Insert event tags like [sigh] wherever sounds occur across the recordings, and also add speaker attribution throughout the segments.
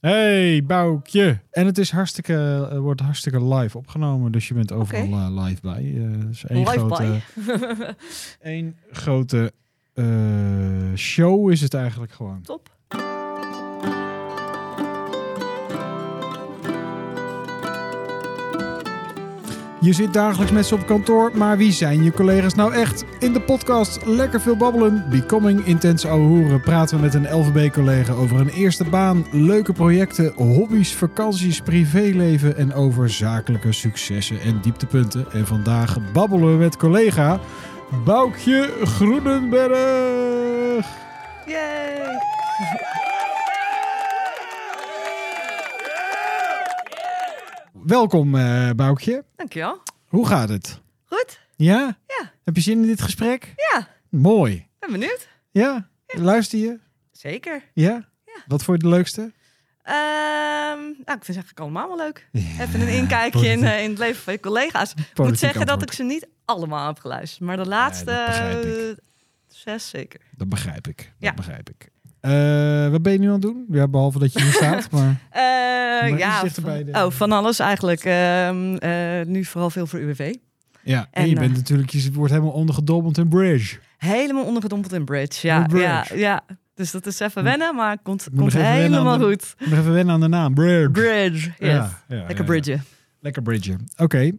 Speaker 1: Hey, Boukje. En het is hartstikke, eh, wordt hartstikke live opgenomen. Dus je bent overal
Speaker 2: Oké.
Speaker 1: eh, live bij. Eh, dus één
Speaker 2: Live
Speaker 1: grote,
Speaker 2: by.
Speaker 1: [laughs] één grote eh, show is het eigenlijk gewoon.
Speaker 2: Top.
Speaker 1: Je zit dagelijks met ze op kantoor, maar wie zijn je collega's nou echt? In de podcast Lekker Veel Babbelen, Becoming Intense Ouwe Hoeren praten we met een LVB-collega over een eerste baan, leuke projecten, hobby's, vakanties, privéleven en over zakelijke successen en dieptepunten. En vandaag babbelen we met collega Boukje Groenenberg.
Speaker 2: Yay.
Speaker 1: Welkom eh, Boukje,
Speaker 2: [laughs] Dankjewel.
Speaker 1: hoe gaat het?
Speaker 2: Goed?
Speaker 1: Ja?
Speaker 2: Ja.
Speaker 1: Heb je zin in dit gesprek?
Speaker 2: Ja,
Speaker 1: Mooi.
Speaker 2: ben benieuwd.
Speaker 1: Ja? Luister je?
Speaker 2: Zeker.
Speaker 1: Ja? Wat vond je de leukste?
Speaker 2: Ehm, nou, ik vind ze eigenlijk allemaal wel leuk.
Speaker 1: Ja,
Speaker 2: Even
Speaker 1: [laughs]
Speaker 2: een inkijkje in,
Speaker 1: politiek-
Speaker 2: eh, in het leven van je collega's. Ik moet
Speaker 1: politiek
Speaker 2: zeggen dat ik
Speaker 1: antwoord.
Speaker 2: ze niet allemaal heb geluisterd. Maar de laatste
Speaker 1: dat begrijp ik.
Speaker 2: eh, zes zeker.
Speaker 1: Dat begrijp ik. Dat
Speaker 2: Ja.
Speaker 1: begrijp ik. Eh, wat ben je nu aan het doen? Ja, behalve dat je hier staat,
Speaker 2: [laughs]
Speaker 1: maar...
Speaker 2: Eh,
Speaker 1: iets
Speaker 2: ja,
Speaker 1: dichterbij
Speaker 2: van,
Speaker 1: de-
Speaker 2: oh, van alles eigenlijk. Ehm, eh, nu vooral veel voor UWV.
Speaker 1: Ja, en,
Speaker 2: En,
Speaker 1: je bent
Speaker 2: eh,
Speaker 1: natuurlijk... Je wordt helemaal ondergedompeld in bridge.
Speaker 2: Helemaal ondergedompeld in bridge. Ja,
Speaker 1: In bridge.
Speaker 2: ja, ja. Dus dat is even wennen, maar het komt,
Speaker 1: moet
Speaker 2: komt
Speaker 1: nog even wennen
Speaker 2: helemaal
Speaker 1: aan de-
Speaker 2: goed.
Speaker 1: Nog even wennen aan de naam. Bridge.
Speaker 2: Bridge, yes.
Speaker 1: ja, ja,
Speaker 2: Lekker
Speaker 1: ja.
Speaker 2: bridgen.
Speaker 1: Lekker bridge. Oké.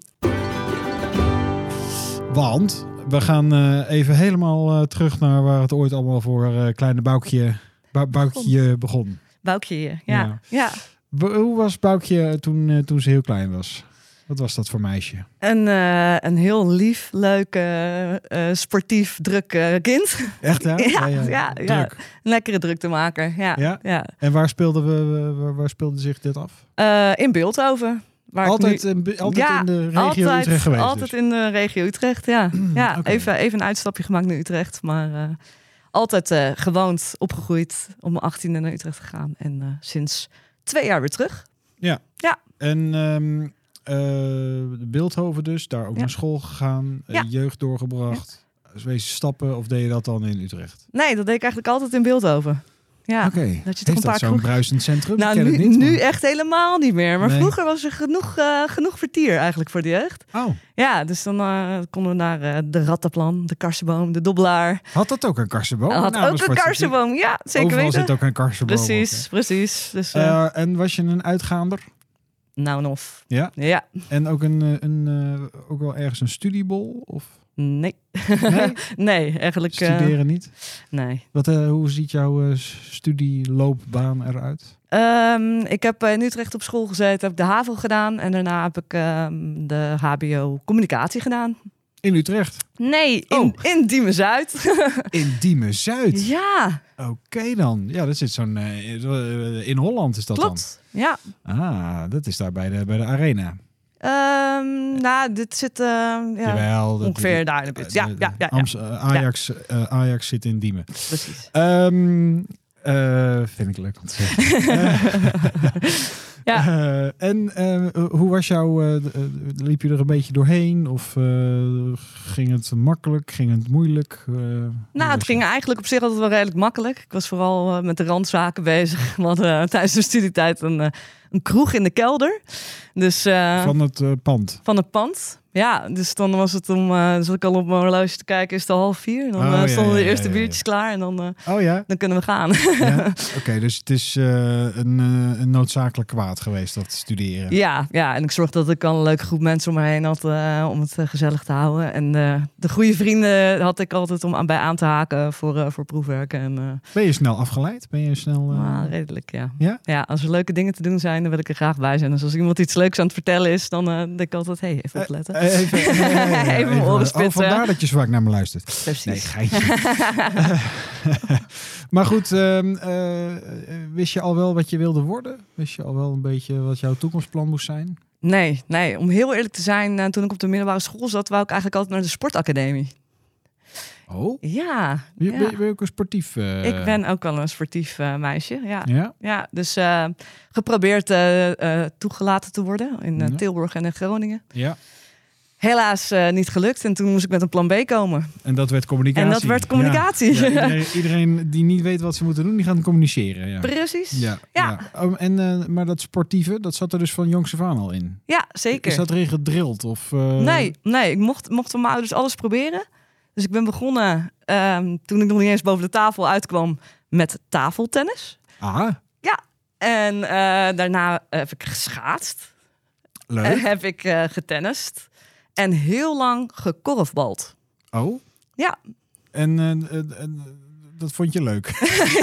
Speaker 1: Want we gaan eh, even helemaal eh, terug naar waar het ooit allemaal voor eh, kleine Boukje, Bou- Boukje begon.
Speaker 2: Boukje hier, ja.
Speaker 1: Ja.
Speaker 2: ja.
Speaker 1: Bo- Hoe was Boukje toen, eh, toen ze heel klein was? Wat was dat voor meisje?
Speaker 2: Een, eh, een heel lief, leuk, eh, eh, sportief, druk eh, kind.
Speaker 1: Echt, hè?
Speaker 2: [laughs] Ja, ja,
Speaker 1: Druk.
Speaker 2: ja. Een lekkere druktemaker, ja.
Speaker 1: Ja?
Speaker 2: ja?
Speaker 1: En waar speelde, we, waar, waar speelde zich dit af?
Speaker 2: Eh, in Beeldhoven. Waar ik
Speaker 1: Altijd,
Speaker 2: nu-
Speaker 1: in, Be- altijd
Speaker 2: Ja,
Speaker 1: in de regio Utrecht geweest. dus.
Speaker 2: Altijd in de regio
Speaker 1: [clears throat]
Speaker 2: Utrecht, ja. ja
Speaker 1: oké.
Speaker 2: even, even een uitstapje gemaakt naar Utrecht, maar... eh, altijd eh, gewoond, opgegroeid, om mijn 18e naar Utrecht gegaan. En eh, sinds twee jaar weer terug.
Speaker 1: En ehm, eh, Beeldhoven dus, daar ook
Speaker 2: Ja.
Speaker 1: naar school gegaan, eh,
Speaker 2: Ja.
Speaker 1: jeugd doorgebracht. Dus wees je stappen of deed je dat dan in Utrecht?
Speaker 2: Nee, dat deed ik eigenlijk altijd in Beeldhoven. Ja,
Speaker 1: Oké.
Speaker 2: dat je toch een
Speaker 1: Heeft
Speaker 2: paar
Speaker 1: dat zo'n
Speaker 2: kroeg-
Speaker 1: bruisend centrum?
Speaker 2: Nou,
Speaker 1: ik ken
Speaker 2: nu,
Speaker 1: het niet.
Speaker 2: nu
Speaker 1: maar-
Speaker 2: echt helemaal niet meer. Maar
Speaker 1: Nee.
Speaker 2: vroeger was er genoeg, eh, genoeg vertier eigenlijk voor de jeugd.
Speaker 1: Oh,
Speaker 2: Ja, dus dan eh, konden we naar eh, de Rattenplan, de Karsenboom, de Dobbelaar.
Speaker 1: had dat ook een karsenboom?
Speaker 2: Hij had
Speaker 1: Oh, Nou, dat
Speaker 2: ook
Speaker 1: is
Speaker 2: een
Speaker 1: wat je-
Speaker 2: Karsenboom. Ja, zeker
Speaker 1: Overal
Speaker 2: weten.
Speaker 1: zit ook een karsenboom. op,
Speaker 2: precies,
Speaker 1: hè.
Speaker 2: precies. Dus eh,
Speaker 1: Eh, en was je een uitgaander?
Speaker 2: nou en of.
Speaker 1: Ja?
Speaker 2: Ja,
Speaker 1: En ook, een, eh, een, eh, ook wel ergens een studiebol?
Speaker 2: [laughs]
Speaker 1: Of?
Speaker 2: nee.
Speaker 1: Nee?
Speaker 2: nee, eigenlijk... eh,
Speaker 1: Studeren niet?
Speaker 2: nee.
Speaker 1: Wat, eh, hoe ziet jouw eh, s- studieloopbaan eruit?
Speaker 2: Ehm, ik heb eh, in Utrecht op school gezeten, heb ik de HAVO gedaan. En daarna heb ik ehm, de HBO Communicatie gedaan.
Speaker 1: In
Speaker 2: [laughs]
Speaker 1: Utrecht.
Speaker 2: Nee, in,
Speaker 1: Oh.
Speaker 2: in Diemen-Zuid.
Speaker 1: In Diemen-Zuid.
Speaker 2: [laughs] ja,
Speaker 1: Oké dan. Ja, dat zit zo'n... eh, in Holland is dat
Speaker 2: klopt. Ja,
Speaker 1: dan. Ah, dat is daar bij de, bij de arena.
Speaker 2: Ehm, nou, dit zit eh, ja,
Speaker 1: Jawel. dat-
Speaker 2: ongeveer
Speaker 1: dat-
Speaker 2: daar in de buurt. Ja,
Speaker 1: de-
Speaker 2: ja, ja, ja,
Speaker 1: Amst- eh, Ajax, eh, Ajax zit in Diemen.
Speaker 2: precies.
Speaker 1: Ehm, eh, vind ik leuk om te zeggen.
Speaker 2: [laughs] Ja.
Speaker 1: Eh, en eh, hoe was jouw... eh, d- eh, liep je er een beetje doorheen? Of eh, ging het makkelijk? Ging het moeilijk? Eh, hoe
Speaker 2: Nou, het
Speaker 1: was
Speaker 2: ging
Speaker 1: het?
Speaker 2: eigenlijk op zich altijd wel redelijk makkelijk. Ik was vooral eh, met de randzaken bezig. [laughs] We hadden eh, tijdens de studietijd een, eh, een kroeg in de kelder. Dus eh, van...
Speaker 1: Van het eh, pand.
Speaker 2: het pand. Ja, dus dan was het om, eh zat ik al op mijn horloge te kijken, is het al half vier. Dan
Speaker 1: Oh,
Speaker 2: eh,
Speaker 1: ja,
Speaker 2: stonden
Speaker 1: ja,
Speaker 2: de
Speaker 1: ja,
Speaker 2: eerste
Speaker 1: ja, ja.
Speaker 2: biertjes klaar en dan, eh,
Speaker 1: Oh ja?
Speaker 2: dan kunnen we gaan.
Speaker 1: Ja? [laughs] Oké, dus het is eh, een, eh, een noodzakelijk kwaad geweest dat studeren.
Speaker 2: Ja, ja, en ik zorgde dat ik al een leuke groep mensen om me heen had eh, om het eh, gezellig te houden. En eh, de goede vrienden had ik altijd om aan, bij aan te haken voor, eh, voor proefwerken. En, eh,
Speaker 1: Ben je snel afgeleid? Ben je snel. eh,
Speaker 2: maar redelijk, ja.
Speaker 1: Ja?
Speaker 2: als er leuke dingen te doen zijn, dan wil ik er graag bij zijn. Dus als iemand iets leuks aan het vertellen is, dan eh, denk ik altijd, hey, even opletten.
Speaker 1: eh,
Speaker 2: [laughs]
Speaker 1: Even, eh,
Speaker 2: Even mijn
Speaker 1: eh,
Speaker 2: oren
Speaker 1: oh,
Speaker 2: spitsen.
Speaker 1: vandaar dat je zwak naar me luistert.
Speaker 2: Precies.
Speaker 1: Nee, geintje. [laughs] maar goed, ehm, eh, eh, wist je al wel wat je wilde worden? Wist je al wel een beetje wat jouw toekomstplan moest zijn?
Speaker 2: Nee, nee, om heel eerlijk te zijn, eh, toen ik op de middelbare school zat, wou ik eigenlijk altijd naar de sportacademie.
Speaker 1: Oh,
Speaker 2: Ja,
Speaker 1: je,
Speaker 2: ja.
Speaker 1: Ben, je- ben je ook een sportief? eh,
Speaker 2: ik ben ook wel een sportief eh, meisje, ja.
Speaker 1: Ja?
Speaker 2: Ja, dus eh, geprobeerd eh, eh, toegelaten te worden in eh,
Speaker 1: Ja.
Speaker 2: Tilburg en in Groningen.
Speaker 1: Ja.
Speaker 2: helaas eh, niet gelukt. En toen moest ik met een plan B komen.
Speaker 1: En dat werd communicatie.
Speaker 2: En dat werd communicatie.
Speaker 1: Ja. Ja, iedereen, iedereen die niet weet wat ze moeten doen, die gaan communiceren. Ja.
Speaker 2: [laughs] Precies.
Speaker 1: Ja,
Speaker 2: Ja.
Speaker 1: ja. Oh, en, eh, maar dat sportieve, dat zat er dus van jongs af aan al in.
Speaker 2: Ja, zeker.
Speaker 1: Is dat erin gedrild? Of, eh,
Speaker 2: Nee, nee, ik mocht, mocht van mijn ouders alles proberen. Dus ik ben begonnen ehm, toen ik nog niet eens boven de tafel uitkwam met tafeltennis.
Speaker 1: Ah,
Speaker 2: En eh, daarna heb ik geschaatst.
Speaker 1: leuk.
Speaker 2: En heb ik eh getennist. En heel lang gekorfbald. [laughs]
Speaker 1: Oh.
Speaker 2: Eh. Ja.
Speaker 1: En eh, eh, eh, dat vond je leuk?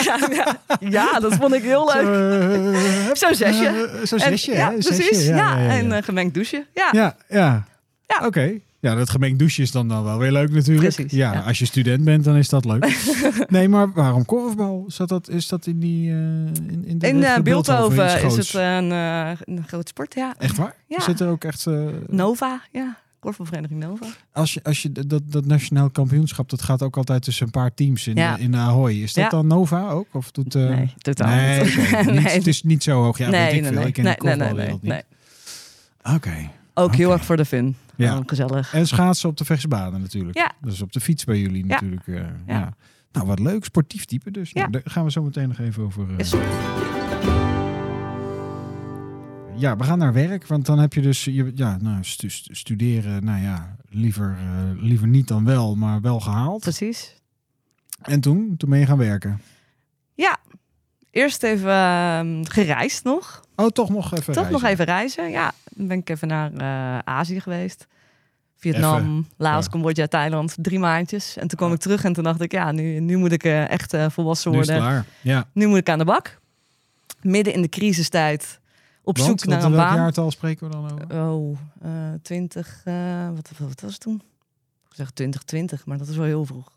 Speaker 2: ja, ja. Ja, dat vond ik heel leuk.
Speaker 1: Eh, hup,
Speaker 2: Zo'n zesje.
Speaker 1: eh, Zo'n
Speaker 2: En-
Speaker 1: zesje,
Speaker 2: ja,
Speaker 1: hè? Een
Speaker 2: precies.
Speaker 1: zesje,
Speaker 2: ja,
Speaker 1: ja.
Speaker 2: en eh, gemengd douchen. Ja,
Speaker 1: Ja, ja.
Speaker 2: Ja.
Speaker 1: Oké. Ja, dat gemengd douchen is dan, dan wel weer leuk natuurlijk.
Speaker 2: Precies,
Speaker 1: Ja,
Speaker 2: ja.
Speaker 1: als je student bent, dan is dat
Speaker 2: [laughs]
Speaker 1: leuk. nee, maar waarom korfbal? Zat dat, is dat in die... eh, in in de
Speaker 2: in
Speaker 1: richting
Speaker 2: eh, Beeldhoven is
Speaker 1: Schoots?
Speaker 2: het een, eh, een groot sport, ja.
Speaker 1: Echt waar?
Speaker 2: Ja.
Speaker 1: Zit er ook echt... eh,
Speaker 2: Nova, ja. Korfbalvereniging Nova.
Speaker 1: als je, als je d- dat, dat nationaal kampioenschap, dat gaat ook altijd tussen een paar teams in, eh,
Speaker 2: Ja.
Speaker 1: in Ahoy. Is dat
Speaker 2: Ja.
Speaker 1: dan Nova ook? Of doet, eh,
Speaker 2: nee, totaal
Speaker 1: nee,
Speaker 2: niet. [laughs]
Speaker 1: oké. Niet- Het is niet zo hoog. Ja, weet ik veel. Ik ken de korfbalwereld niet. Oké.
Speaker 2: Ook heel
Speaker 1: Oké.
Speaker 2: erg voor de fun.
Speaker 1: Ja.
Speaker 2: Gewoon gezellig.
Speaker 1: En schaatsen op de Vechtsebanen natuurlijk.
Speaker 2: Ja.
Speaker 1: Dat is op de fiets bij jullie natuurlijk. eh, ja.
Speaker 2: Ja.
Speaker 1: Nou, wat leuk. Sportief type dus. Nou,
Speaker 2: Ja.
Speaker 1: daar gaan we zo meteen nog even over... eh,
Speaker 2: Is
Speaker 1: Ja, we gaan naar werk. Want dan heb je dus... Je, ja, nou, stu- stu- studeren, nou ja, liever, eh, liever niet dan wel, maar wel gehaald.
Speaker 2: Precies.
Speaker 1: En toen? Toen ben je gaan werken.
Speaker 2: Ja. Eerst even ehm, gereisd nog.
Speaker 1: Oh, toch nog even
Speaker 2: Toch nog
Speaker 1: reizen.
Speaker 2: even reizen. Ja, dan ben ik even naar eh, Azië geweest. Vietnam, Laos,
Speaker 1: Ja.
Speaker 2: Cambodja, Thailand. Drie maandjes. En toen kwam ik terug en toen dacht ik, ja, nu, nu moet ik eh, echt eh, volwassen
Speaker 1: Nu is
Speaker 2: worden.
Speaker 1: het
Speaker 2: Nu,
Speaker 1: klaar. Ja.
Speaker 2: moet ik aan de bak. Midden in de crisistijd. Op
Speaker 1: Want,
Speaker 2: zoek
Speaker 1: want
Speaker 2: naar
Speaker 1: in
Speaker 2: een
Speaker 1: welk
Speaker 2: baan.
Speaker 1: jaartal spreken we dan over?
Speaker 2: Oh, eh 20. eh, wat, wat, wat was het toen? Ik zeg 2020, maar dat is wel heel vroeg.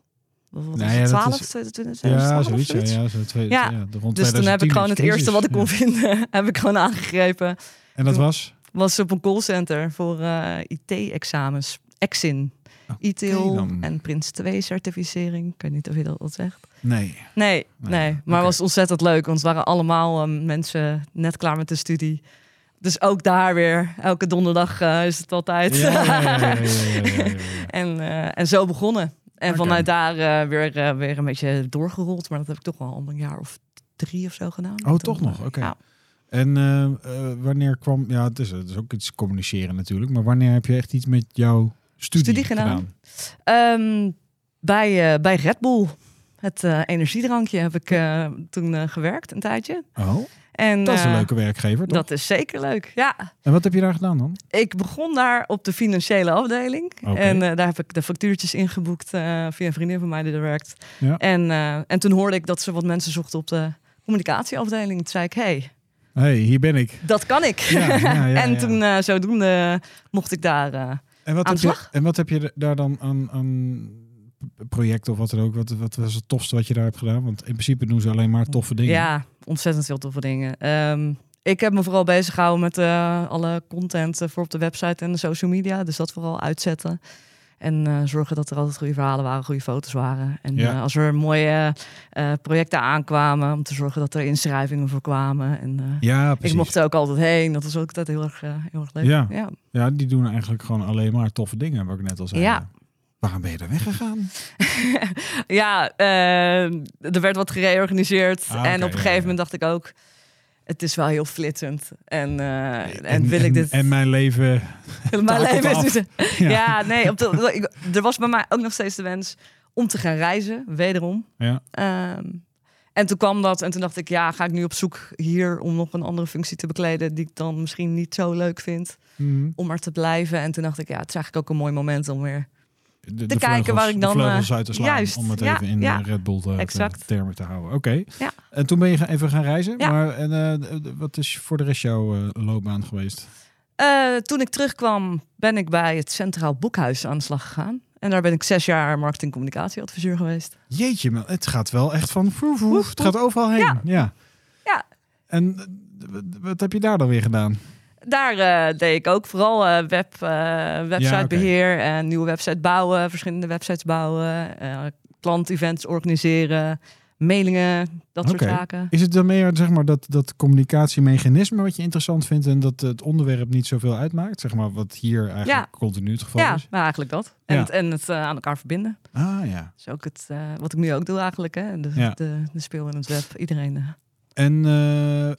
Speaker 2: Wat was
Speaker 1: Nee,
Speaker 2: het,
Speaker 1: ja, dat
Speaker 2: 12,
Speaker 1: is-
Speaker 2: 2020,
Speaker 1: Ja,
Speaker 2: 2012 of
Speaker 1: zoiets. Ja,
Speaker 2: zoiets?
Speaker 1: ja, zo twee, ja.
Speaker 2: Ja.
Speaker 1: de rond
Speaker 2: Dus toen heb
Speaker 1: 2010
Speaker 2: ik gewoon
Speaker 1: is
Speaker 2: het
Speaker 1: crisis.
Speaker 2: eerste wat ik
Speaker 1: Ja.
Speaker 2: kon vinden, [laughs] heb ik gewoon aangegrepen.
Speaker 1: En dat was?
Speaker 2: Was op een callcenter voor eh, IT-examens. Exin.
Speaker 1: Oké
Speaker 2: ITIL
Speaker 1: dan.
Speaker 2: en Prins 2 certificering. Ik weet niet of je dat al zegt.
Speaker 1: Nee.
Speaker 2: Nee,
Speaker 1: Nee,
Speaker 2: nee. Maar
Speaker 1: oké.
Speaker 2: was ontzettend leuk. Want het waren allemaal eh, mensen net klaar met de studie. Dus ook daar weer. Elke donderdag eh, is het altijd.
Speaker 1: Ja, ja, ja, ja, ja, ja, ja, ja.
Speaker 2: [laughs] En, eh, en zo begonnen. En
Speaker 1: Oké.
Speaker 2: vanuit daar eh, weer, eh, weer een beetje doorgerold. Maar dat heb ik toch wel al een jaar of drie of zo gedaan.
Speaker 1: Oh,
Speaker 2: Toen,
Speaker 1: toch nog? Oké.
Speaker 2: ja.
Speaker 1: En eh, eh, wanneer kwam... Ja, het is, het is ook iets communiceren natuurlijk. Maar wanneer heb je echt iets met jouw studie,
Speaker 2: Studie gedaan. Ehm, bij, eh, bij Red Bull, het eh, energiedrankje, heb ik eh, toen eh, gewerkt een tijdje.
Speaker 1: Oh,
Speaker 2: En,
Speaker 1: dat is een
Speaker 2: eh,
Speaker 1: leuke werkgever, toch?
Speaker 2: Dat is zeker leuk, ja.
Speaker 1: En wat heb je daar gedaan dan?
Speaker 2: Ik begon daar op de financiële afdeling.
Speaker 1: Oké.
Speaker 2: En eh, daar heb ik de factuurtjes ingeboekt eh, via een vriendin van mij die er werkt.
Speaker 1: Ja.
Speaker 2: En, eh, en toen hoorde ik dat ze wat mensen zochten op de communicatieafdeling. Toen zei ik, hey,
Speaker 1: Hé, hey, hier ben
Speaker 2: [laughs]
Speaker 1: ik.
Speaker 2: dat kan ik.
Speaker 1: Ja, ja, ja,
Speaker 2: [laughs] en
Speaker 1: ja.
Speaker 2: toen eh, zodoende mocht ik daar... eh,
Speaker 1: En wat, heb
Speaker 2: Aan de
Speaker 1: je,
Speaker 2: slag?
Speaker 1: en wat heb je daar dan aan, aan projecten of wat dan ook? Wat, wat was het tofste wat je daar hebt gedaan? Want in principe doen ze alleen maar toffe dingen.
Speaker 2: Ja, ontzettend veel toffe dingen. Ehm, ik heb me vooral bezig gehouden met eh, alle content eh, voor op de website en de social media. Dus dat vooral uitzetten. En eh, zorgen dat er altijd goede verhalen waren, goede foto's waren. En
Speaker 1: Ja.
Speaker 2: eh, als er mooie eh, projecten aankwamen, om te zorgen dat er inschrijvingen voor kwamen. En eh,
Speaker 1: ja
Speaker 2: ik
Speaker 1: precies.
Speaker 2: mocht er ook altijd heen. Dat was ook altijd heel erg, eh, heel erg leuk.
Speaker 1: Ja.
Speaker 2: Ja.
Speaker 1: Ja, die doen eigenlijk gewoon alleen maar toffe dingen, wat ik net al zei.
Speaker 2: Ja.
Speaker 1: Waarom ben je daar weggegaan?
Speaker 2: Ja, eh, er werd wat gereorganiseerd.
Speaker 1: Ah, oké,
Speaker 2: en op een
Speaker 1: ja,
Speaker 2: gegeven
Speaker 1: ja.
Speaker 2: moment dacht ik ook, het is wel heel flitsend. En, eh, en,
Speaker 1: En-
Speaker 2: wil ik
Speaker 1: en-
Speaker 2: dit...
Speaker 1: En mijn leven...
Speaker 2: Mijn
Speaker 1: Takelt
Speaker 2: leven
Speaker 1: af.
Speaker 2: is dus-
Speaker 1: Ja.
Speaker 2: [laughs] ja. nee. Op de, ik- er was bij mij ook nog steeds de wens om te gaan reizen, wederom.
Speaker 1: Ja.
Speaker 2: Ehm, en toen kwam dat en toen dacht ik, ja, ga ik nu op zoek hier om nog een andere functie te bekleden die ik dan misschien niet zo leuk vind
Speaker 1: Mhm.
Speaker 2: om er te blijven. En toen dacht ik, ja, het is eigenlijk ook een mooi moment om weer.
Speaker 1: De, de vleugels-
Speaker 2: kijken waar ik dan,
Speaker 1: De vleugels
Speaker 2: eh,
Speaker 1: uit te slaan,
Speaker 2: juist,
Speaker 1: om het
Speaker 2: ja,
Speaker 1: even in
Speaker 2: ja,
Speaker 1: eh, Red Bull te, te-
Speaker 2: exact.
Speaker 1: termen te houden. Oké.
Speaker 2: Ja.
Speaker 1: En toen ben je gaan- even gaan reizen.
Speaker 2: Ja.
Speaker 1: Maar en, eh, d- wat is voor de rest jouw eh, loopbaan geweest?
Speaker 2: Eh, toen ik terugkwam, ben ik bij het Centraal Boekhuis aan de slag gegaan. En daar ben ik zes jaar marketing communicatieadviseur geweest.
Speaker 1: Jeetje, maar het gaat wel echt van vroeg, vroeg.
Speaker 2: Woef,
Speaker 1: Het gaat overal heen. Ja.
Speaker 2: Ja.
Speaker 1: ja.
Speaker 2: Ja.
Speaker 1: En eh, wat- wat heb je daar dan weer gedaan?
Speaker 2: Daar eh, deed ik ook vooral eh, web, eh, websitebeheer en nieuwe website bouwen, verschillende websites bouwen, eh klantevents organiseren, mailingen, dat
Speaker 1: Oké.
Speaker 2: soort zaken.
Speaker 1: Is het dan meer zeg maar, dat, dat communicatiemechanisme wat je interessant vindt en dat het onderwerp niet zoveel uitmaakt? Zeg maar wat hier eigenlijk continu het geval
Speaker 2: Ja,
Speaker 1: is.
Speaker 2: maar eigenlijk dat.
Speaker 1: dus.
Speaker 2: En
Speaker 1: Ja.
Speaker 2: het, en het eh, aan elkaar verbinden.
Speaker 1: Ah ja.
Speaker 2: Dat is ook het, eh, wat ik nu ook doe eigenlijk. Hè? De,
Speaker 1: Ja.
Speaker 2: de, de speel in het web. Iedereen. eh,
Speaker 1: En eh, eh,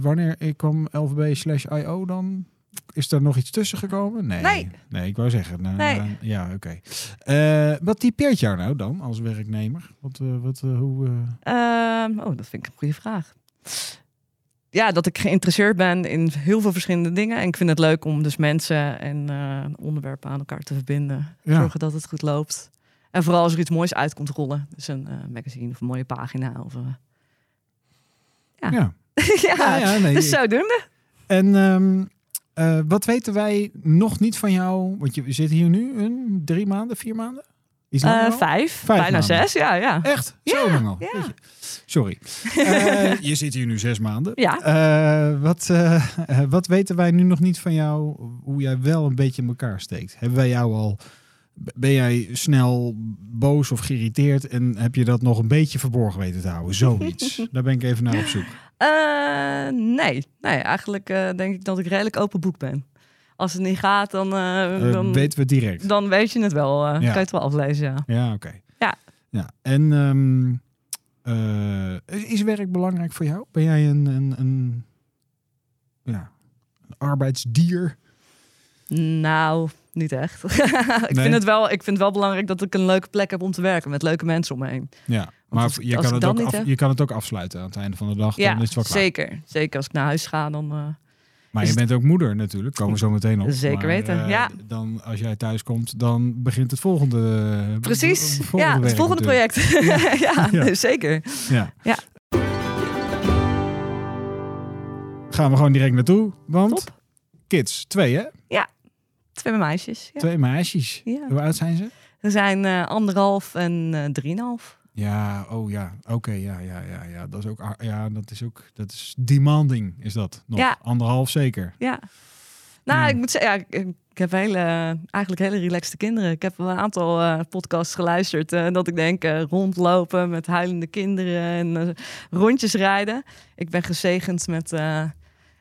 Speaker 1: wanneer ik kwam LVB slash IO dan? Is daar nog iets tussen gekomen? Nee.
Speaker 2: Nee.
Speaker 1: ik wou zeggen. nou,
Speaker 2: Nee.
Speaker 1: nou, ja, oké. Eh, wat typeert jou nou dan als werknemer? Wat, eh, wat, eh, hoe, eh,
Speaker 2: Ehm, oh, dat vind ik een goede vraag. Ja, dat ik geïnteresseerd ben in heel veel verschillende dingen. En ik vind het leuk om dus mensen en eh, onderwerpen aan elkaar te verbinden.
Speaker 1: Ja.
Speaker 2: Zorgen dat het goed loopt. En vooral als er iets moois uit komt rollen. Dus een eh, magazine of een mooie pagina. Of, eh, [laughs] Ja. [laughs]
Speaker 1: ja.
Speaker 2: ja,
Speaker 1: Ja, ja,
Speaker 2: [laughs]
Speaker 1: nee,
Speaker 2: dus
Speaker 1: ik-
Speaker 2: zodoende.
Speaker 1: En ehm, eh, wat weten wij nog niet van jou? Want je zit hier nu een drie maanden, vier maanden? Iets langer
Speaker 2: Eh,
Speaker 1: al?
Speaker 2: vijf, bijna
Speaker 1: maanden. Eh.
Speaker 2: zes. Ja, ja.
Speaker 1: Echt? Zo lang al? Jeetje.
Speaker 2: [laughs]
Speaker 1: Sorry. Eh, je zit hier nu zes maanden.
Speaker 2: Ja. Ah.
Speaker 1: Eh, wat, eh, eh, wat weten wij nu nog niet van jou? Hoe jij wel een beetje in elkaar steekt? Hebben wij jou al... Ben jij snel boos of geïrriteerd en heb je dat nog een beetje verborgen weten te houden?
Speaker 2: [laughs]
Speaker 1: Zoiets. Daar ben ik even naar op zoek.
Speaker 2: Eh, nee. nee, eigenlijk eh, denk ik dat ik redelijk open boek ben. Als het niet gaat, dan, eh,
Speaker 1: Eh,
Speaker 2: dan,
Speaker 1: weten we het direct.
Speaker 2: dan weet je het wel. eh,
Speaker 1: Ja.
Speaker 2: Kan je het wel aflezen, ja.
Speaker 1: Ja, oké.
Speaker 2: Ja.
Speaker 1: ja. En ehm, eh, is werk belangrijk voor jou? Ben jij een, een, een, ja, een arbeidsdier?
Speaker 2: Nou, niet echt. [laughs] ik,
Speaker 1: Nee?
Speaker 2: vind het wel, ik vind het wel belangrijk dat ik een leuke plek heb om te werken met leuke mensen om me heen.
Speaker 1: Ja, maar
Speaker 2: als-
Speaker 1: je, kan
Speaker 2: als ik
Speaker 1: het
Speaker 2: dat
Speaker 1: ook
Speaker 2: niet
Speaker 1: af-
Speaker 2: heb-
Speaker 1: je kan het ook afsluiten aan het einde van de dag. dan
Speaker 2: ja,
Speaker 1: is het wel klaar.
Speaker 2: zeker. Zeker als ik naar huis ga, dan. eh,
Speaker 1: Maar
Speaker 2: Is
Speaker 1: je
Speaker 2: het-
Speaker 1: bent ook moeder natuurlijk, komen we zo meteen op.
Speaker 2: Zeker
Speaker 1: Maar,
Speaker 2: weten,
Speaker 1: eh,
Speaker 2: ja.
Speaker 1: Dan, als jij thuis komt, dan begint het volgende. eh,
Speaker 2: precies.
Speaker 1: b- b-
Speaker 2: ja, het
Speaker 1: werk
Speaker 2: volgende
Speaker 1: natuurlijk.
Speaker 2: project. [laughs] ja,
Speaker 1: [laughs] Ja.
Speaker 2: nee, zeker.
Speaker 1: Ja.
Speaker 2: Ja.
Speaker 1: Gaan we gewoon direct naartoe, want kids, twee hè?
Speaker 2: Twee meisjes. Ja.
Speaker 1: Twee meisjes.
Speaker 2: Ja.
Speaker 1: Hoe oud zijn ze?
Speaker 2: Er zijn eh, anderhalf en eh, drieënhalf.
Speaker 1: Ja, oh ja, oké, ja, ja, ja, ja. Dat is ook, ar- ja, dat is ook, dat is demanding, is dat nog?
Speaker 2: Ja.
Speaker 1: Anderhalf zeker.
Speaker 2: Ja. Nou,
Speaker 1: Hmm.
Speaker 2: ik moet zeggen, ja, ik, ik heb hele, eh, eigenlijk hele relaxte kinderen. Ik heb een aantal eh, podcasts geluisterd. eh, dat ik denk eh, rondlopen met huilende kinderen en eh, rondjes rijden. Ik ben gezegend met eh,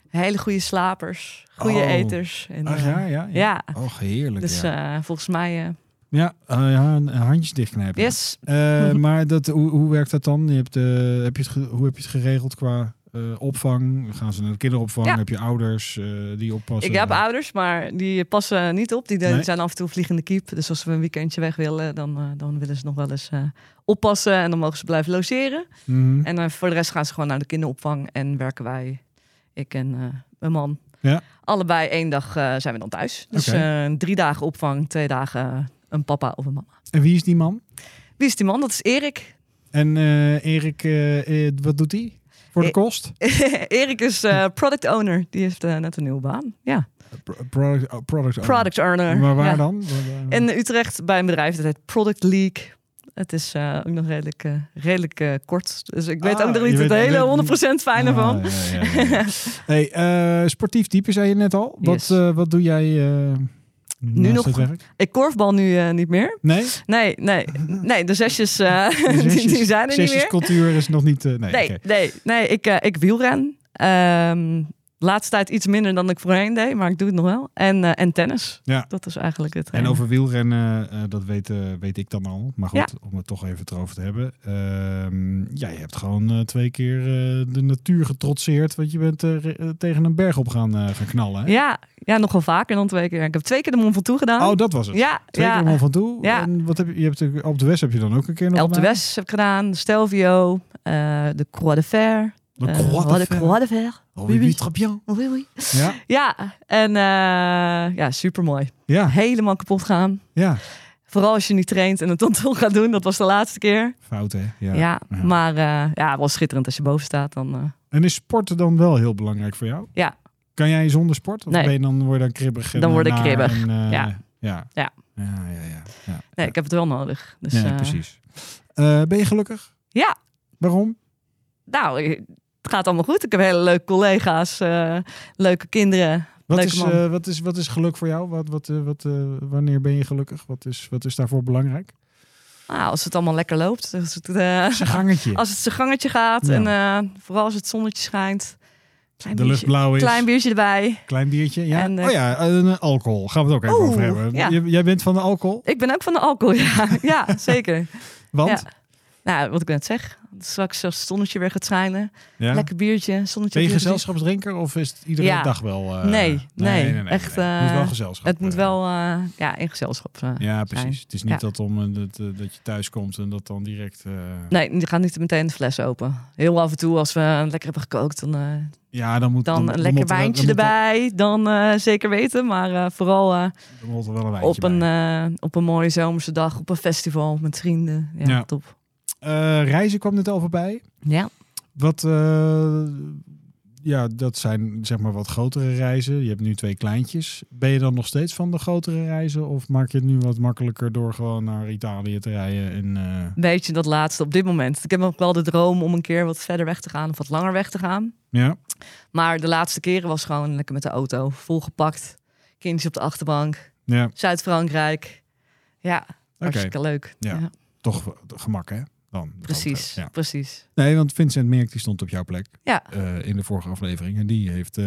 Speaker 2: hele goede slapers, goede
Speaker 1: Oh.
Speaker 2: eters. En,
Speaker 1: Ach
Speaker 2: eh,
Speaker 1: ja, ja, ja.
Speaker 2: ja.
Speaker 1: Och, heerlijk.
Speaker 2: Dus
Speaker 1: ja,
Speaker 2: eh, volgens mij, eh,
Speaker 1: ja, eh, ja een- een handjes dichtknijpen.
Speaker 2: yes. [laughs]
Speaker 1: Eh, maar dat, hoe, hoe werkt dat dan? Je hebt, eh, heb je het ge- hoe heb je het geregeld qua eh, opvang? Gaan ze naar de kinderopvang?
Speaker 2: Ja.
Speaker 1: Heb je ouders eh, die oppassen?
Speaker 2: Ik heb ouders, maar die passen niet op. Die, die
Speaker 1: Nee.
Speaker 2: zijn af en toe vliegende kiep. Dus als we een weekendje weg willen, dan, eh, dan willen ze nog wel eens eh, oppassen. En dan mogen ze blijven logeren.
Speaker 1: Mhm.
Speaker 2: En eh, voor de rest gaan ze gewoon naar de kinderopvang en werken wij, ik en eh, mijn man.
Speaker 1: Ja.
Speaker 2: Allebei één dag eh, zijn we dan thuis. Dus
Speaker 1: Oké.
Speaker 2: eh, drie dagen opvang, twee dagen eh, een papa of een mama.
Speaker 1: En wie is die man?
Speaker 2: Wie is die man? Dat is Erik. [laughs]
Speaker 1: En eh, Erik, eh, eh, wat doet hij? Voor de
Speaker 2: Eh,
Speaker 1: kost?
Speaker 2: Erik is eh, product owner. Die heeft eh, net een nieuwe baan. Ja,
Speaker 1: Pro- Product, oh, product owner.
Speaker 2: product owner.
Speaker 1: Maar waar
Speaker 2: ja.
Speaker 1: dan? Waar-
Speaker 2: In Utrecht bij een bedrijf dat heet Product League. Het is eh, ook nog redelijk, eh, redelijk eh, kort. Dus ik weet
Speaker 1: Ah,
Speaker 2: ook nog
Speaker 1: je
Speaker 2: niet het
Speaker 1: weet- weet-
Speaker 2: hele 100% fijne
Speaker 1: Ah,
Speaker 2: van.
Speaker 1: ja, ja,
Speaker 2: [laughs]
Speaker 1: ja, ja. hey, eh, sportief type zei je net al. Wat,
Speaker 2: Yes.
Speaker 1: eh, wat doe jij eh, naast
Speaker 2: nog-
Speaker 1: het werk?
Speaker 2: Ik korfbal nu eh, niet meer. [laughs]
Speaker 1: Nee?
Speaker 2: Nee, nee, nee, de zesjes, eh, [laughs]
Speaker 1: De
Speaker 2: die, die
Speaker 1: zesjes-
Speaker 2: zijn er niet meer.
Speaker 1: zesjescultuur is nog niet... eh, nee,
Speaker 2: Nee,
Speaker 1: oké.
Speaker 2: nee, nee, ik, eh, ik wielren. Ehm laatste tijd iets minder dan ik voorheen deed, maar ik doe het nog wel. En, eh, en tennis.
Speaker 1: Ja.
Speaker 2: Dat is eigenlijk het. eh,
Speaker 1: En over wielrennen, eh, dat weet, eh, weet ik dan al. Maar goed,
Speaker 2: Ja.
Speaker 1: om het toch even het erover te hebben. Ehm, ja, je hebt gewoon eh, twee keer eh, de natuur getrotseerd. Want je bent eh, re- eh, tegen een berg op gaan, eh, gaan knallen. hè?
Speaker 2: Ja, ja, nog wel vaker dan twee keer. Ik heb twee keer de Mont Ventoux gedaan.
Speaker 1: Oh, dat was het.
Speaker 2: ja,
Speaker 1: Twee
Speaker 2: ja.
Speaker 1: keer om van toe.
Speaker 2: Ja.
Speaker 1: En wat heb je, je hebt, natuurlijk- op de West heb je dan ook een keer nog
Speaker 2: Elp de
Speaker 1: gedaan?
Speaker 2: West heb ik gedaan, de Stelvio, eh, de Croix de Fer.
Speaker 1: De
Speaker 2: eh,
Speaker 1: Croix de Fer.
Speaker 2: Croix de Fer.
Speaker 1: Oh,
Speaker 2: Oui,
Speaker 1: oui,
Speaker 2: oui.
Speaker 1: très bien.
Speaker 2: Oui, oui.
Speaker 1: Ja,
Speaker 2: Ja, en eh, ja, supermooi.
Speaker 1: ja,
Speaker 2: Helemaal kapot gaan.
Speaker 1: ja.
Speaker 2: Vooral als je niet traint en het dan [laughs] toch gaat doen. Dat was de laatste keer.
Speaker 1: Fout, hè? Ja.
Speaker 2: Ja,
Speaker 1: Ja.
Speaker 2: maar eh, ja, wel schitterend als je boven staat. Dan, eh,
Speaker 1: En is sporten dan wel heel belangrijk voor jou?
Speaker 2: Ja.
Speaker 1: Kan jij zonder sport? Of
Speaker 2: Nee.
Speaker 1: ben je dan, word je dan kribbig? en
Speaker 2: Dan word ik
Speaker 1: naar
Speaker 2: kribbig,
Speaker 1: en, eh,
Speaker 2: ja.
Speaker 1: Ja.
Speaker 2: Ja.
Speaker 1: Ja, ja, ja. ja.
Speaker 2: nee, ik heb het wel nodig. Dus,
Speaker 1: ja,
Speaker 2: eh,
Speaker 1: precies. Eh, ben je gelukkig?
Speaker 2: Ja.
Speaker 1: Waarom?
Speaker 2: Nou, eh, het gaat allemaal goed. Ik heb hele leuke collega's, eh, leuke kinderen.
Speaker 1: Wat
Speaker 2: Leuke
Speaker 1: is,
Speaker 2: man.
Speaker 1: eh, wat, is, wat is geluk voor jou? Wat, wat, eh, wat, eh, wanneer ben je gelukkig? Wat is, wat is daarvoor belangrijk?
Speaker 2: Nou, als het allemaal lekker loopt. Als het, eh,
Speaker 1: Zijn gangetje.
Speaker 2: als het zijn gangetje gaat
Speaker 1: Ja.
Speaker 2: en eh, vooral als het zonnetje schijnt. Klein
Speaker 1: De lucht
Speaker 2: biertje,
Speaker 1: blauw is.
Speaker 2: klein biertje erbij.
Speaker 1: Klein biertje, ja.
Speaker 2: En, eh,
Speaker 1: oh ja, en alcohol. Gaan we het ook even
Speaker 2: Oeh,
Speaker 1: over hebben.
Speaker 2: ja.
Speaker 1: J- Jij bent van de alcohol,
Speaker 2: Ik ben ook van de alcohol, [laughs] ja. ja, zeker.
Speaker 1: want...
Speaker 2: Ja. Nou, wat ik net zeg. Straks als het zonnetje weer gaat schijnen.
Speaker 1: Ja.
Speaker 2: Lekker biertje, zonnetje.
Speaker 1: Ben je
Speaker 2: op gezicht.
Speaker 1: gezelschapsdrinker of is het iedere
Speaker 2: Ja.
Speaker 1: dag wel... eh,
Speaker 2: Nee, nee, echt,
Speaker 1: Het moet wel
Speaker 2: eh,
Speaker 1: gezelschap.
Speaker 2: Het moet
Speaker 1: eh,
Speaker 2: wel eh, ja, in gezelschap eh. zijn.
Speaker 1: Ja, precies. Het is niet
Speaker 2: Ja.
Speaker 1: dat, om, eh, dat, eh, dat je thuis komt en dat dan direct... eh,
Speaker 2: Nee, je gaat niet meteen de fles open. Heel af en toe, als we lekker hebben gekookt, dan, eh,
Speaker 1: Ja, dan moet
Speaker 2: dan een
Speaker 1: moet
Speaker 2: lekker
Speaker 1: er wel-
Speaker 2: wijntje
Speaker 1: dan moet er-
Speaker 2: erbij. Dan eh, zeker weten. Maar eh, vooral eh,
Speaker 1: dan moet er wel een wijntje
Speaker 2: op, een,
Speaker 1: bij.
Speaker 2: eh, op een mooie zomerse dag, op een festival met vrienden. Ja,
Speaker 1: Ja.
Speaker 2: top.
Speaker 1: Eh, reizen kwam net al voorbij.
Speaker 2: Ja.
Speaker 1: Wat, eh, ja, dat zijn zeg maar wat grotere reizen. Je hebt nu twee kleintjes. Ben je dan nog steeds van de grotere reizen? Of maak je het nu wat makkelijker door gewoon naar Italië te rijden? En, eh,
Speaker 2: Weet je, dat laatste op dit moment. Ik heb nog wel de droom om een keer wat verder weg te gaan of wat langer weg te gaan.
Speaker 1: ja,
Speaker 2: Maar de laatste keren was gewoon lekker met de auto. Volgepakt. Kindjes op de achterbank.
Speaker 1: ja
Speaker 2: Zuid-Frankrijk. Ja,
Speaker 1: oké.
Speaker 2: hartstikke leuk.
Speaker 1: Ja. Toch gemak, hè? Dan, wat dat
Speaker 2: Precies,
Speaker 1: betreft. Ja.
Speaker 2: precies.
Speaker 1: Nee, want Vincent Merk die stond op jouw plek
Speaker 2: Ja.
Speaker 1: eh, in de vorige aflevering. En die heeft eh,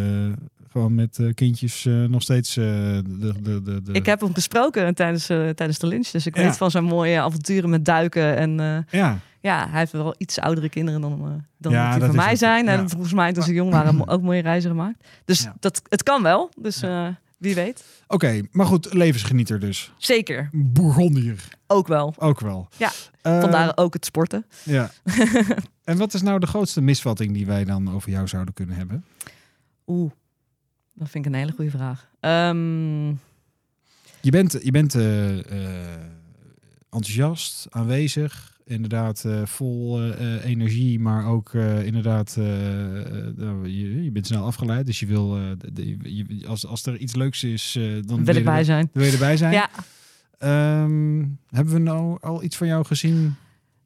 Speaker 1: gewoon met eh, kindjes eh, nog steeds eh, de, de, de, de...
Speaker 2: Ik heb hem besproken tijdens, eh, tijdens de lunch. Dus ik
Speaker 1: Eh. Ja.
Speaker 2: weet van zijn mooie avonturen met duiken. En eh,
Speaker 1: Ja,
Speaker 2: ja, hij heeft wel iets oudere kinderen dan, eh, dan
Speaker 1: Ja, dat
Speaker 2: die van
Speaker 1: is
Speaker 2: mij
Speaker 1: het.
Speaker 2: zijn.
Speaker 1: Ja.
Speaker 2: En volgens mij toen ze jong
Speaker 1: [clears throat]
Speaker 2: waren mo- ook mooie reizen gemaakt. Dus
Speaker 1: Ja.
Speaker 2: dat, het kan wel. Dus eh, wie weet.
Speaker 1: oké. Maar goed, levensgenieter dus.
Speaker 2: Zeker,
Speaker 1: Bourgondier
Speaker 2: ook wel.
Speaker 1: ook wel.
Speaker 2: Ja,
Speaker 1: Eh,
Speaker 2: Vandaar ook het sporten. [laughs]
Speaker 1: Ja. en wat is nou de grootste misvatting die wij dan over jou zouden kunnen hebben?
Speaker 2: Oeh, dat vind ik een hele goede vraag. Ehm,
Speaker 1: Je bent, je bent eh, eh, enthousiast, aanwezig, inderdaad eh, vol eh, eh, energie, maar ook eh, inderdaad, eh, eh, nou, je, je bent snel afgeleid. Dus je wil, eh, de- de- je- als, als er iets leuks is, eh, dan
Speaker 2: wil ik bij
Speaker 1: er-
Speaker 2: zijn.
Speaker 1: wil je erbij zijn.
Speaker 2: Ja,
Speaker 1: Ehm, hebben we nou al iets van jou gezien?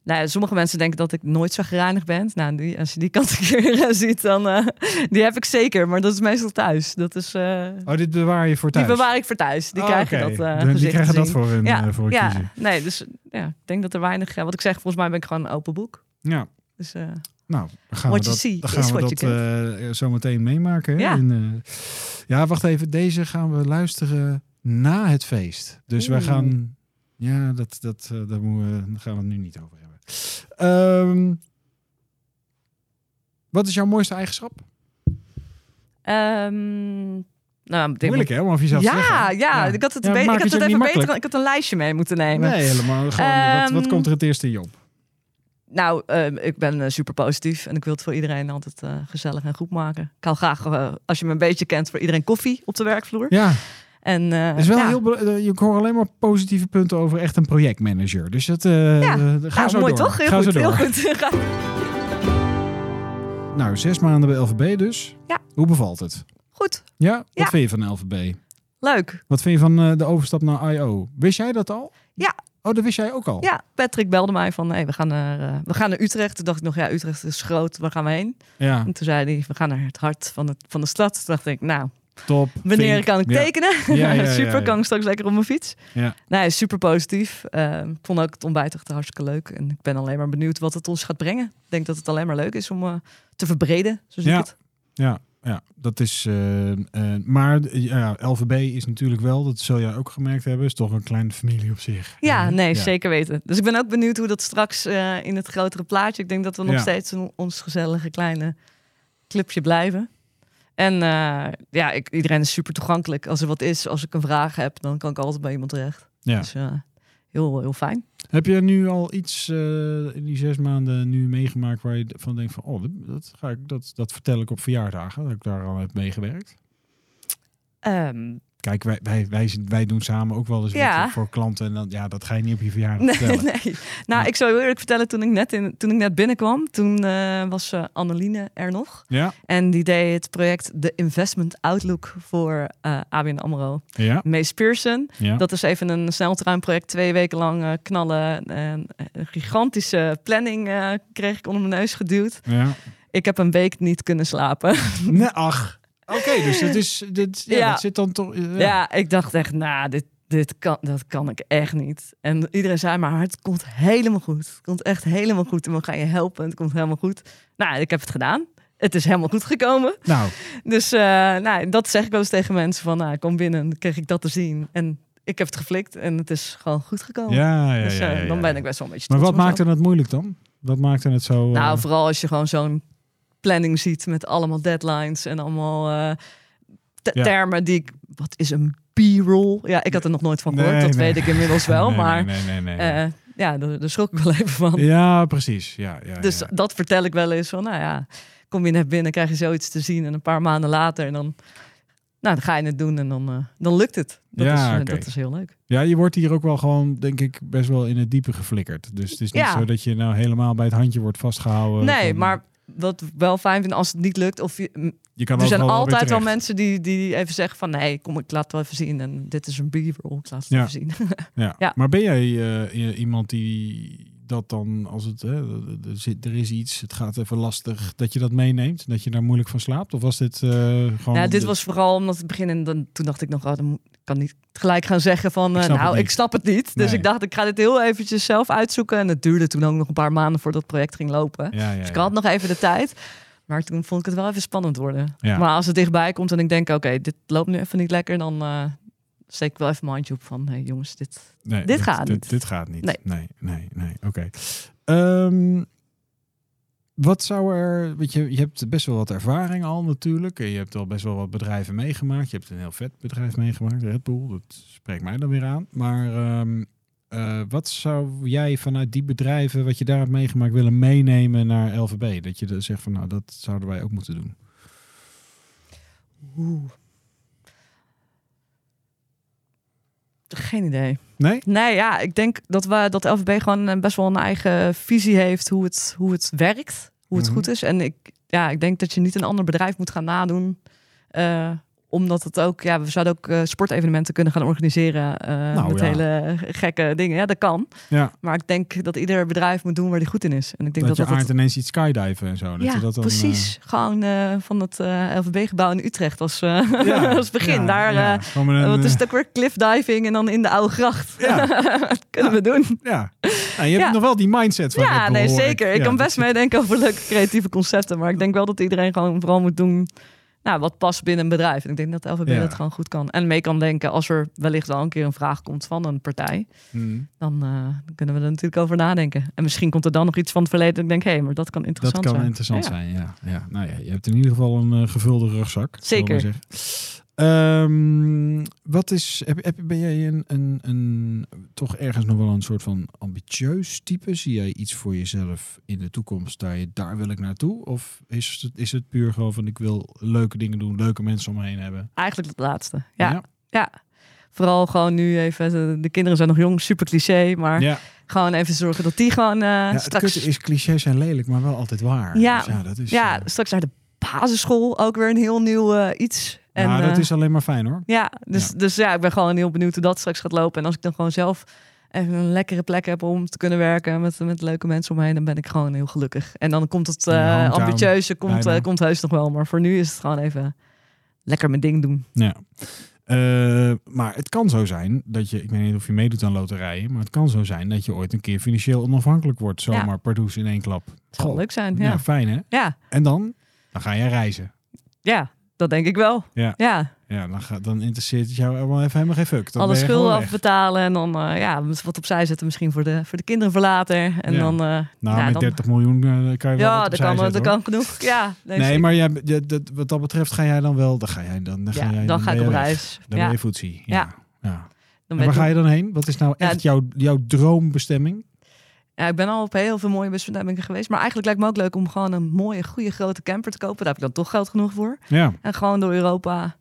Speaker 2: Nou, ja, sommige mensen denken dat ik nooit zagrijnig ben. Nou, die, als je die kant [laughs] een keer eh, ziet, dan eh, die heb ik zeker. Maar dat is meestal thuis. Dat is, eh,
Speaker 1: Oh, dit bewaar je voor
Speaker 2: Die
Speaker 1: thuis?
Speaker 2: bewaar ik voor thuis. Die
Speaker 1: Oh,
Speaker 2: krijgen
Speaker 1: oké.
Speaker 2: dat eh,
Speaker 1: Die- Die
Speaker 2: gezicht
Speaker 1: krijgen
Speaker 2: te
Speaker 1: dat
Speaker 2: zien.
Speaker 1: voor hun
Speaker 2: ja,
Speaker 1: eh, voor hun kiezen.
Speaker 2: ja, nee, dus ja, ik denk dat er weinig... eh, wat ik zeg, volgens mij ben ik gewoon een open boek.
Speaker 1: Ja.
Speaker 2: Dus eh,
Speaker 1: Nou, dan gaan we
Speaker 2: What you
Speaker 1: dat,
Speaker 2: see
Speaker 1: dan
Speaker 2: is
Speaker 1: gaan we
Speaker 2: what
Speaker 1: dat
Speaker 2: you
Speaker 1: eh, zo meteen meemaken. hè?
Speaker 2: Ja.
Speaker 1: En, eh, ja, wacht even. Deze gaan we luisteren na het feest. Dus wij
Speaker 2: Oeh.
Speaker 1: gaan... Ja, dat, dat, eh, daar, moeten we, daar gaan we het nu niet over hebben. Ehm, wat is jouw mooiste eigenschap?
Speaker 2: ehm, nou, ik denk-
Speaker 1: Moeilijk hè, om over jezelf
Speaker 2: ja,
Speaker 1: te zeggen. Ja.
Speaker 2: ja, ik had het,
Speaker 1: Ja,
Speaker 2: be- ik
Speaker 1: maak
Speaker 2: had
Speaker 1: het
Speaker 2: het
Speaker 1: je ook niet
Speaker 2: even beter...
Speaker 1: makkelijk.
Speaker 2: Ik had een lijstje mee moeten nemen.
Speaker 1: Nee, helemaal. Gewoon, wat, wat
Speaker 2: Ehm,
Speaker 1: komt er het eerste in je op?
Speaker 2: Nou, ehm, ik ben eh, super positief en ik wil het voor iedereen altijd eh, gezellig en goed maken. Ik hou graag, eh, als je me een beetje kent, voor iedereen koffie op de werkvloer.
Speaker 1: Ja,
Speaker 2: En eh,
Speaker 1: het is wel
Speaker 2: ja,
Speaker 1: heel be- ik hoor alleen maar positieve punten over echt een projectmanager. Dus dat eh
Speaker 2: Ja.
Speaker 1: eh, ga
Speaker 2: nou,
Speaker 1: zo
Speaker 2: mooi
Speaker 1: door.
Speaker 2: toch? Heel
Speaker 1: ga zo
Speaker 2: goed, [laughs]
Speaker 1: door.
Speaker 2: heel goed.
Speaker 1: Nou, zes maanden bij LVB dus.
Speaker 2: Ja.
Speaker 1: Hoe bevalt het?
Speaker 2: goed,
Speaker 1: Ja? Wat
Speaker 2: Ja.
Speaker 1: vind je van LVB?
Speaker 2: leuk.
Speaker 1: Wat vind je van eh, de overstap naar I.O.? Wist jij dat al?
Speaker 2: Ja.
Speaker 1: Oh, dat wist jij ook al?
Speaker 2: Ja, Patrick belde mij van, hey, we, gaan naar, eh, we gaan naar Utrecht. Toen dacht ik nog, ja, Utrecht is groot, waar gaan we heen?
Speaker 1: Ja,
Speaker 2: En toen zei hij, we gaan naar het hart van, het, van de stad. Toen dacht ik, nou,
Speaker 1: top.
Speaker 2: wanneer
Speaker 1: Vink.
Speaker 2: kan ik
Speaker 1: Ja.
Speaker 2: tekenen? [laughs]
Speaker 1: Ja, ja, ja,
Speaker 2: super,
Speaker 1: ja.
Speaker 2: kan ik straks lekker op mijn fiets?
Speaker 1: Ja.
Speaker 2: Nee, super positief. Eh, ik vond ook het ontbijt echt hartstikke leuk. En ik ben alleen maar benieuwd wat het ons gaat brengen. Ik denk dat het alleen maar leuk is om eh, te verbreden, zo zie
Speaker 1: Ja.
Speaker 2: ik het.
Speaker 1: Ja, ja, dat is... eh, eh, maar eh, ja, LVB is natuurlijk wel, dat zul jij ook gemerkt hebben, is toch een kleine familie op zich.
Speaker 2: Ja,
Speaker 1: Eh,
Speaker 2: nee, zeker weten. Dus ik ben ook benieuwd hoe dat straks eh, in het grotere plaatje. Ik denk dat we nog
Speaker 1: Ja.
Speaker 2: steeds een, ons gezellige kleine clubje blijven. En eh, ja, ik, iedereen is super toegankelijk. Als er wat is, als ik een vraag heb, dan kan ik altijd bij iemand terecht.
Speaker 1: Ja.
Speaker 2: Dus eh, heel, heel fijn.
Speaker 1: Heb je nu al iets eh, in die zes maanden nu meegemaakt waar je van denkt van, oh, dat, ga ik, dat, dat vertel ik op verjaardagen, dat ik daar al heb meegewerkt?
Speaker 2: Ehm,
Speaker 1: Kijk, wij, wij, wij, zijn- wij doen samen ook wel eens
Speaker 2: Ja.
Speaker 1: wat voor klanten. En dan, ja, dat ga je niet op je verjaardag
Speaker 2: [laughs] nee,
Speaker 1: vertellen.
Speaker 2: nee.
Speaker 1: Maar-
Speaker 2: Nou, ik zou je eerlijk vertellen, toen ik net, in, toen ik net binnenkwam, toen eh, was eh, Anneline er nog.
Speaker 1: Ja,
Speaker 2: En die deed het project The Investment Outlook voor eh, ABN AMRO.
Speaker 1: ja,
Speaker 2: Mees Pearson.
Speaker 1: ja.
Speaker 2: Dat is even een sneltruimproject. Twee weken lang eh, knallen. En eh, een gigantische planning eh, kreeg ik onder mijn neus geduwd.
Speaker 1: ja.
Speaker 2: Ik heb een week niet kunnen slapen.
Speaker 1: Nee, ach. Oké, dus dat is, dit, ja,
Speaker 2: Ja.
Speaker 1: dat zit dan toch...
Speaker 2: Ja,
Speaker 1: ja.
Speaker 2: ik dacht echt, nou, dit, dit kan, dat kan ik echt niet. En iedereen zei maar, het komt helemaal goed. Het komt echt helemaal goed. En we gaan je helpen. Het komt helemaal goed. Nou, ik heb het gedaan. Het is helemaal goed gekomen.
Speaker 1: Nou,
Speaker 2: Dus eh, nou, dat zeg ik wel eens tegen mensen van, nou, kom binnen. Dan kreeg ik dat te zien. En ik heb het geflikt en het is gewoon goed gekomen.
Speaker 1: ja, ja,
Speaker 2: Dus,
Speaker 1: ja,
Speaker 2: eh,
Speaker 1: ja, ja.
Speaker 2: dan ben ik best wel een beetje
Speaker 1: Maar
Speaker 2: trots
Speaker 1: wat
Speaker 2: op mezelf.
Speaker 1: maakte het moeilijk dan? Wat maakte het zo... eh,
Speaker 2: Nou, vooral als je gewoon zo'n planning ziet met allemaal deadlines en allemaal eh, te-
Speaker 1: Ja.
Speaker 2: termen die ik. Wat is een B-roll? Ja, ik had er nog nooit van gehoord.
Speaker 1: Nee,
Speaker 2: dat
Speaker 1: nee.
Speaker 2: weet ik
Speaker 1: [laughs]
Speaker 2: inmiddels wel.
Speaker 1: nee,
Speaker 2: maar
Speaker 1: Nee, nee, nee. nee.
Speaker 2: eh, ja, daar, daar schrok ik wel even van.
Speaker 1: ja, precies. Ja, ja,
Speaker 2: dus
Speaker 1: ja.
Speaker 2: dat vertel ik wel eens van. Nou ja, kom je naar binnen, krijg je zoiets te zien. En een paar maanden later, en dan, nou, dan ga je het doen en dan, eh, dan lukt het. Dat,
Speaker 1: Ja,
Speaker 2: is, eh,
Speaker 1: oké.
Speaker 2: dat is heel leuk.
Speaker 1: ja, je wordt hier ook wel gewoon, denk ik, best wel in het diepe geflikkerd. Dus het is niet
Speaker 2: Ja.
Speaker 1: zo dat je nou helemaal bij het handje wordt vastgehouden.
Speaker 2: nee,
Speaker 1: van-
Speaker 2: maar wat ik wel fijn vind als het niet lukt of je,
Speaker 1: je kan
Speaker 2: er zijn
Speaker 1: overal weer
Speaker 2: altijd wel
Speaker 1: terecht.
Speaker 2: mensen die, die even zeggen van... nee, kom, ik laat het wel even zien. En dit is een B-roll, ik laat het
Speaker 1: Ja.
Speaker 2: even zien. [laughs]
Speaker 1: Ja.
Speaker 2: Ja.
Speaker 1: Maar ben jij eh, i- iemand die dat dan, als het hè, er- er zit- er is iets, het gaat even lastig, dat je dat meeneemt? Dat je daar moeilijk van slaapt? Of was dit eh, gewoon...
Speaker 2: nou, dit
Speaker 1: de-
Speaker 2: was vooral omdat het begin... en dan, toen dacht ik nog, oh, dan moet- ik kan niet gelijk gaan zeggen van...
Speaker 1: Ik
Speaker 2: eh,
Speaker 1: snap het
Speaker 2: nou,
Speaker 1: niet.
Speaker 2: ik snap het niet. Dus
Speaker 1: Nee.
Speaker 2: ik dacht, ik ga dit heel eventjes zelf uitzoeken. En het duurde toen ook nog een paar maanden voordat het project ging lopen.
Speaker 1: Ja, ja,
Speaker 2: Dus ik
Speaker 1: ja.
Speaker 2: had nog even de tijd. Maar toen vond ik het wel even spannend worden.
Speaker 1: Ja.
Speaker 2: Maar als het dichtbij komt en ik denk... oké, dit loopt nu even niet lekker, dan... eh, steek ik wel even mijn handje op van... hey, jongens, dit...
Speaker 1: Nee,
Speaker 2: Dit gaat
Speaker 1: dit,
Speaker 2: niet.
Speaker 1: dit gaat niet. Nee,
Speaker 2: Nee.
Speaker 1: nee, nee. Oké. Ehm, wat zou er... Weet je, je hebt best wel wat ervaring al natuurlijk. En je hebt al best wel wat bedrijven meegemaakt. Je hebt een heel vet bedrijf meegemaakt, Red Bull. Dat spreekt mij dan weer aan. Maar ehm, eh, wat zou jij vanuit die bedrijven, wat je daar hebt meegemaakt, willen meenemen naar LVB? Dat je dan zegt van, nou, dat zouden wij ook moeten doen.
Speaker 2: Oeh. Geen idee.
Speaker 1: Nee?
Speaker 2: Nee, ja, ik denk dat, we, dat LVB gewoon eh, best wel een eigen visie heeft hoe het, hoe het werkt, hoe het
Speaker 1: Mhm.
Speaker 2: goed is. En ik, ja, ik denk dat je niet een ander bedrijf moet gaan nadoen. eh, omdat het ook, ja, we zouden ook eh, sportevenementen kunnen gaan organiseren. eh,
Speaker 1: Nou,
Speaker 2: met
Speaker 1: ja.
Speaker 2: hele gekke dingen. Ja, dat kan.
Speaker 1: Ja.
Speaker 2: Maar ik denk dat ieder bedrijf moet doen waar die goed in is. En ik denk
Speaker 1: dat,
Speaker 2: dat dat.
Speaker 1: je
Speaker 2: dat-
Speaker 1: aard ineens iets skydiven en zo. Dat
Speaker 2: ja,
Speaker 1: je dat dan, eh,
Speaker 2: precies. Gewoon eh, van het LVB-gebouw in Utrecht als, eh, [laughs]
Speaker 1: ja,
Speaker 2: als begin.
Speaker 1: ja,
Speaker 2: Daar,
Speaker 1: ja.
Speaker 2: eh,
Speaker 1: Gewoon met een,
Speaker 2: wat is
Speaker 1: eh,
Speaker 2: het ook weer? Cliffdiving en dan in de oude gracht.
Speaker 1: Ja.
Speaker 2: [laughs] dat kunnen we doen.
Speaker 1: Ja, Nou, je hebt
Speaker 2: Ja.
Speaker 1: nog wel die mindset van
Speaker 2: Ja,
Speaker 1: Red Bull,
Speaker 2: nee,
Speaker 1: hoor
Speaker 2: zeker. Ik
Speaker 1: Ja,
Speaker 2: kan
Speaker 1: dat
Speaker 2: best
Speaker 1: zit-
Speaker 2: meedenken over leuke creatieve concepten. Maar ik denk wel dat iedereen gewoon vooral moet doen nou, wat past binnen een bedrijf. En ik denk dat LVB
Speaker 1: Ja.
Speaker 2: dat gewoon goed kan. En mee kan denken als er wellicht wel een keer een vraag komt van een partij.
Speaker 1: Hmm,
Speaker 2: Dan eh, dan kunnen we er natuurlijk over nadenken. En misschien komt er dan nog iets van het verleden. En ik denk, hé, maar dat kan
Speaker 1: Dat
Speaker 2: interessant
Speaker 1: kan
Speaker 2: zijn.
Speaker 1: interessant
Speaker 2: Ja.
Speaker 1: zijn, ja. ja. Nou ja, je hebt in ieder geval een eh, gevulde rugzak. zullen we maar
Speaker 2: Zeker.
Speaker 1: zeggen. Ehm, wat is, heb, heb- ben jij een, een, een, toch ergens nog wel een soort van ambitieus type? Zie jij iets voor jezelf in de toekomst, daar, je, daar wil ik naartoe? Of is het, is het puur gewoon van ik wil leuke dingen doen, leuke mensen om me heen hebben?
Speaker 2: Eigenlijk het laatste. Ja. ja. Vooral gewoon nu even, de, de kinderen zijn nog jong, super cliché. Maar
Speaker 1: ja.
Speaker 2: gewoon even zorgen dat die gewoon eh,
Speaker 1: Ja, het
Speaker 2: straks
Speaker 1: kutte is clichés en lelijk, maar wel altijd waar.
Speaker 2: Ja.
Speaker 1: Dus ja, dat is,
Speaker 2: Ja,
Speaker 1: eh,
Speaker 2: straks naar de basisschool ook weer een heel nieuw eh, iets. En,
Speaker 1: nou, dat
Speaker 2: eh,
Speaker 1: is alleen maar fijn hoor.
Speaker 2: ja, dus,
Speaker 1: Ja.
Speaker 2: dus ja, ik ben gewoon heel benieuwd hoe dat straks gaat lopen. En als ik dan gewoon zelf even een lekkere plek heb om te kunnen werken met, met leuke mensen om me heen, dan ben ik gewoon heel gelukkig. En dan komt het
Speaker 1: In je
Speaker 2: eh,
Speaker 1: hometown,
Speaker 2: ambitieuze, komt,
Speaker 1: bijna.
Speaker 2: eh, komt heus nog wel. Maar voor nu is het gewoon even lekker mijn ding doen.
Speaker 1: Ja. Eh, maar het kan zo zijn dat je, ik weet niet of je meedoet aan loterijen, maar het kan zo zijn dat je ooit een keer financieel onafhankelijk wordt, zomaar
Speaker 2: Ja.
Speaker 1: pardoes in één klap.
Speaker 2: Het zou
Speaker 1: Goh,
Speaker 2: leuk zijn.
Speaker 1: Ja.
Speaker 2: Ja.
Speaker 1: fijn hè?
Speaker 2: Ja.
Speaker 1: En dan? Dan ga jij reizen.
Speaker 2: ja, dat denk ik wel.
Speaker 1: Ja.
Speaker 2: ja.
Speaker 1: Ja, dan, ga, dan interesseert het jou helemaal even helemaal geen fuck. Dan
Speaker 2: alle
Speaker 1: ben je
Speaker 2: schulden
Speaker 1: gewoon weg.
Speaker 2: afbetalen en dan eh, ja, wat opzij zetten misschien voor de, voor de kinderen voor later. En
Speaker 1: Ja.
Speaker 2: dan, eh,
Speaker 1: Nou,
Speaker 2: ja,
Speaker 1: met
Speaker 2: dan-
Speaker 1: 30 miljoen eh, kan je wel
Speaker 2: ja,
Speaker 1: wat
Speaker 2: dat
Speaker 1: opzij
Speaker 2: kan,
Speaker 1: zetten,
Speaker 2: dat
Speaker 1: hoor.
Speaker 2: kan genoeg. Ja,
Speaker 1: Nee,
Speaker 2: zeker.
Speaker 1: maar jij, je- dat, wat dat betreft ga jij dan wel, dan ga jij dan, dan ga,
Speaker 2: ja,
Speaker 1: jij,
Speaker 2: dan ga
Speaker 1: ben
Speaker 2: ik op
Speaker 1: je weg.
Speaker 2: reis.
Speaker 1: Dan
Speaker 2: ja,
Speaker 1: ben je voetsie.
Speaker 2: Ja.
Speaker 1: ja.
Speaker 2: dan
Speaker 1: En
Speaker 2: ben
Speaker 1: waar
Speaker 2: ik,
Speaker 1: ga je dan heen? Wat is nou
Speaker 2: Ja,
Speaker 1: echt jouw, jouw droombestemming?
Speaker 2: ja, ik ben al op heel veel mooie bestemmingen geweest. Maar eigenlijk lijkt me ook leuk om gewoon een mooie, goede, grote camper te kopen. Daar heb ik dan toch geld genoeg voor.
Speaker 1: Ja,
Speaker 2: En gewoon door Europa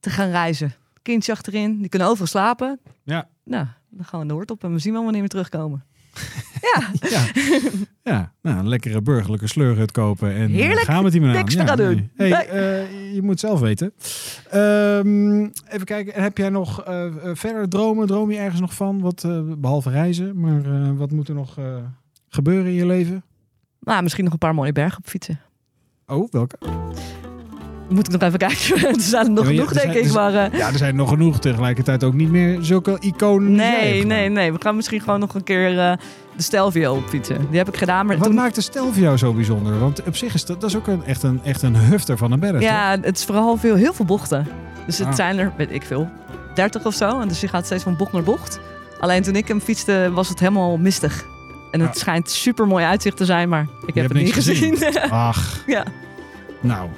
Speaker 2: te gaan reizen. Kindje achterin, die kunnen overal slapen.
Speaker 1: Ja.
Speaker 2: Nou, dan gaan we de hoort op en we zien wel wanneer we terugkomen. [laughs]
Speaker 1: Ja, ja. Nou, een lekkere burgerlijke sleurhut kopen. En eh,
Speaker 2: Heerlijk.
Speaker 1: Gaan we het hier maar aan.
Speaker 2: Niks te gaan doen.
Speaker 1: nee. Hey,
Speaker 2: Nee.
Speaker 1: eh, je moet het zelf weten. Ehm, even kijken. En Heb jij nog eh, eh, verder dromen? Droom je ergens nog van? Wat, eh, behalve reizen. Maar eh, wat moet er nog eh, gebeuren in je leven?
Speaker 2: Nou, misschien nog een paar mooie bergen op fietsen.
Speaker 1: Oh, welke?
Speaker 2: Moet ik nog even kijken. [laughs] er zijn er nog
Speaker 1: Ja, maar je-
Speaker 2: genoeg,
Speaker 1: er zijn-
Speaker 2: denk ik.
Speaker 1: er
Speaker 2: Maar eh,
Speaker 1: Ja, er zijn nog genoeg. Tegelijkertijd ook niet meer zulke iconen. als jij hebt
Speaker 2: nee,
Speaker 1: gedaan.
Speaker 2: nee, nee. We gaan misschien gewoon nog een keer eh, de Stelvio opfietsen. Die heb ik gedaan. Maar
Speaker 1: Wat
Speaker 2: toen,
Speaker 1: maakt de stijl voor jou zo bijzonder? Want op zich is dat, dat is ook een, echt, een, echt een hufter van een berg. toch?
Speaker 2: ja, het is vooral veel, heel veel bochten. Dus het
Speaker 1: Ah.
Speaker 2: zijn er, weet ik veel, 30 of zo. En dus je gaat steeds van bocht naar bocht. Alleen toen ik hem fietste, was het helemaal mistig. En het
Speaker 1: Ja.
Speaker 2: schijnt super mooi uitzicht te zijn, maar ik heb
Speaker 1: hebt
Speaker 2: het niet
Speaker 1: niks gezien.
Speaker 2: gezien. [laughs]
Speaker 1: Ach,
Speaker 2: ja.
Speaker 1: nou.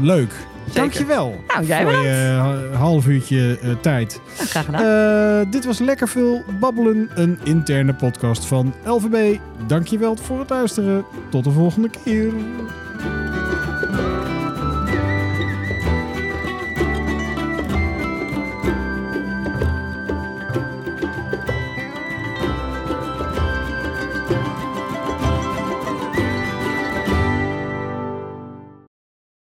Speaker 1: Leuk. Dankjewel.
Speaker 2: Nou, jij
Speaker 1: voor je eh, half uurtje eh, tijd.
Speaker 2: Nou, graag gedaan.
Speaker 1: Eh, dit was Lekker Veel Babbelen, een interne podcast van LVB. Dankjewel voor het luisteren. Tot de volgende keer.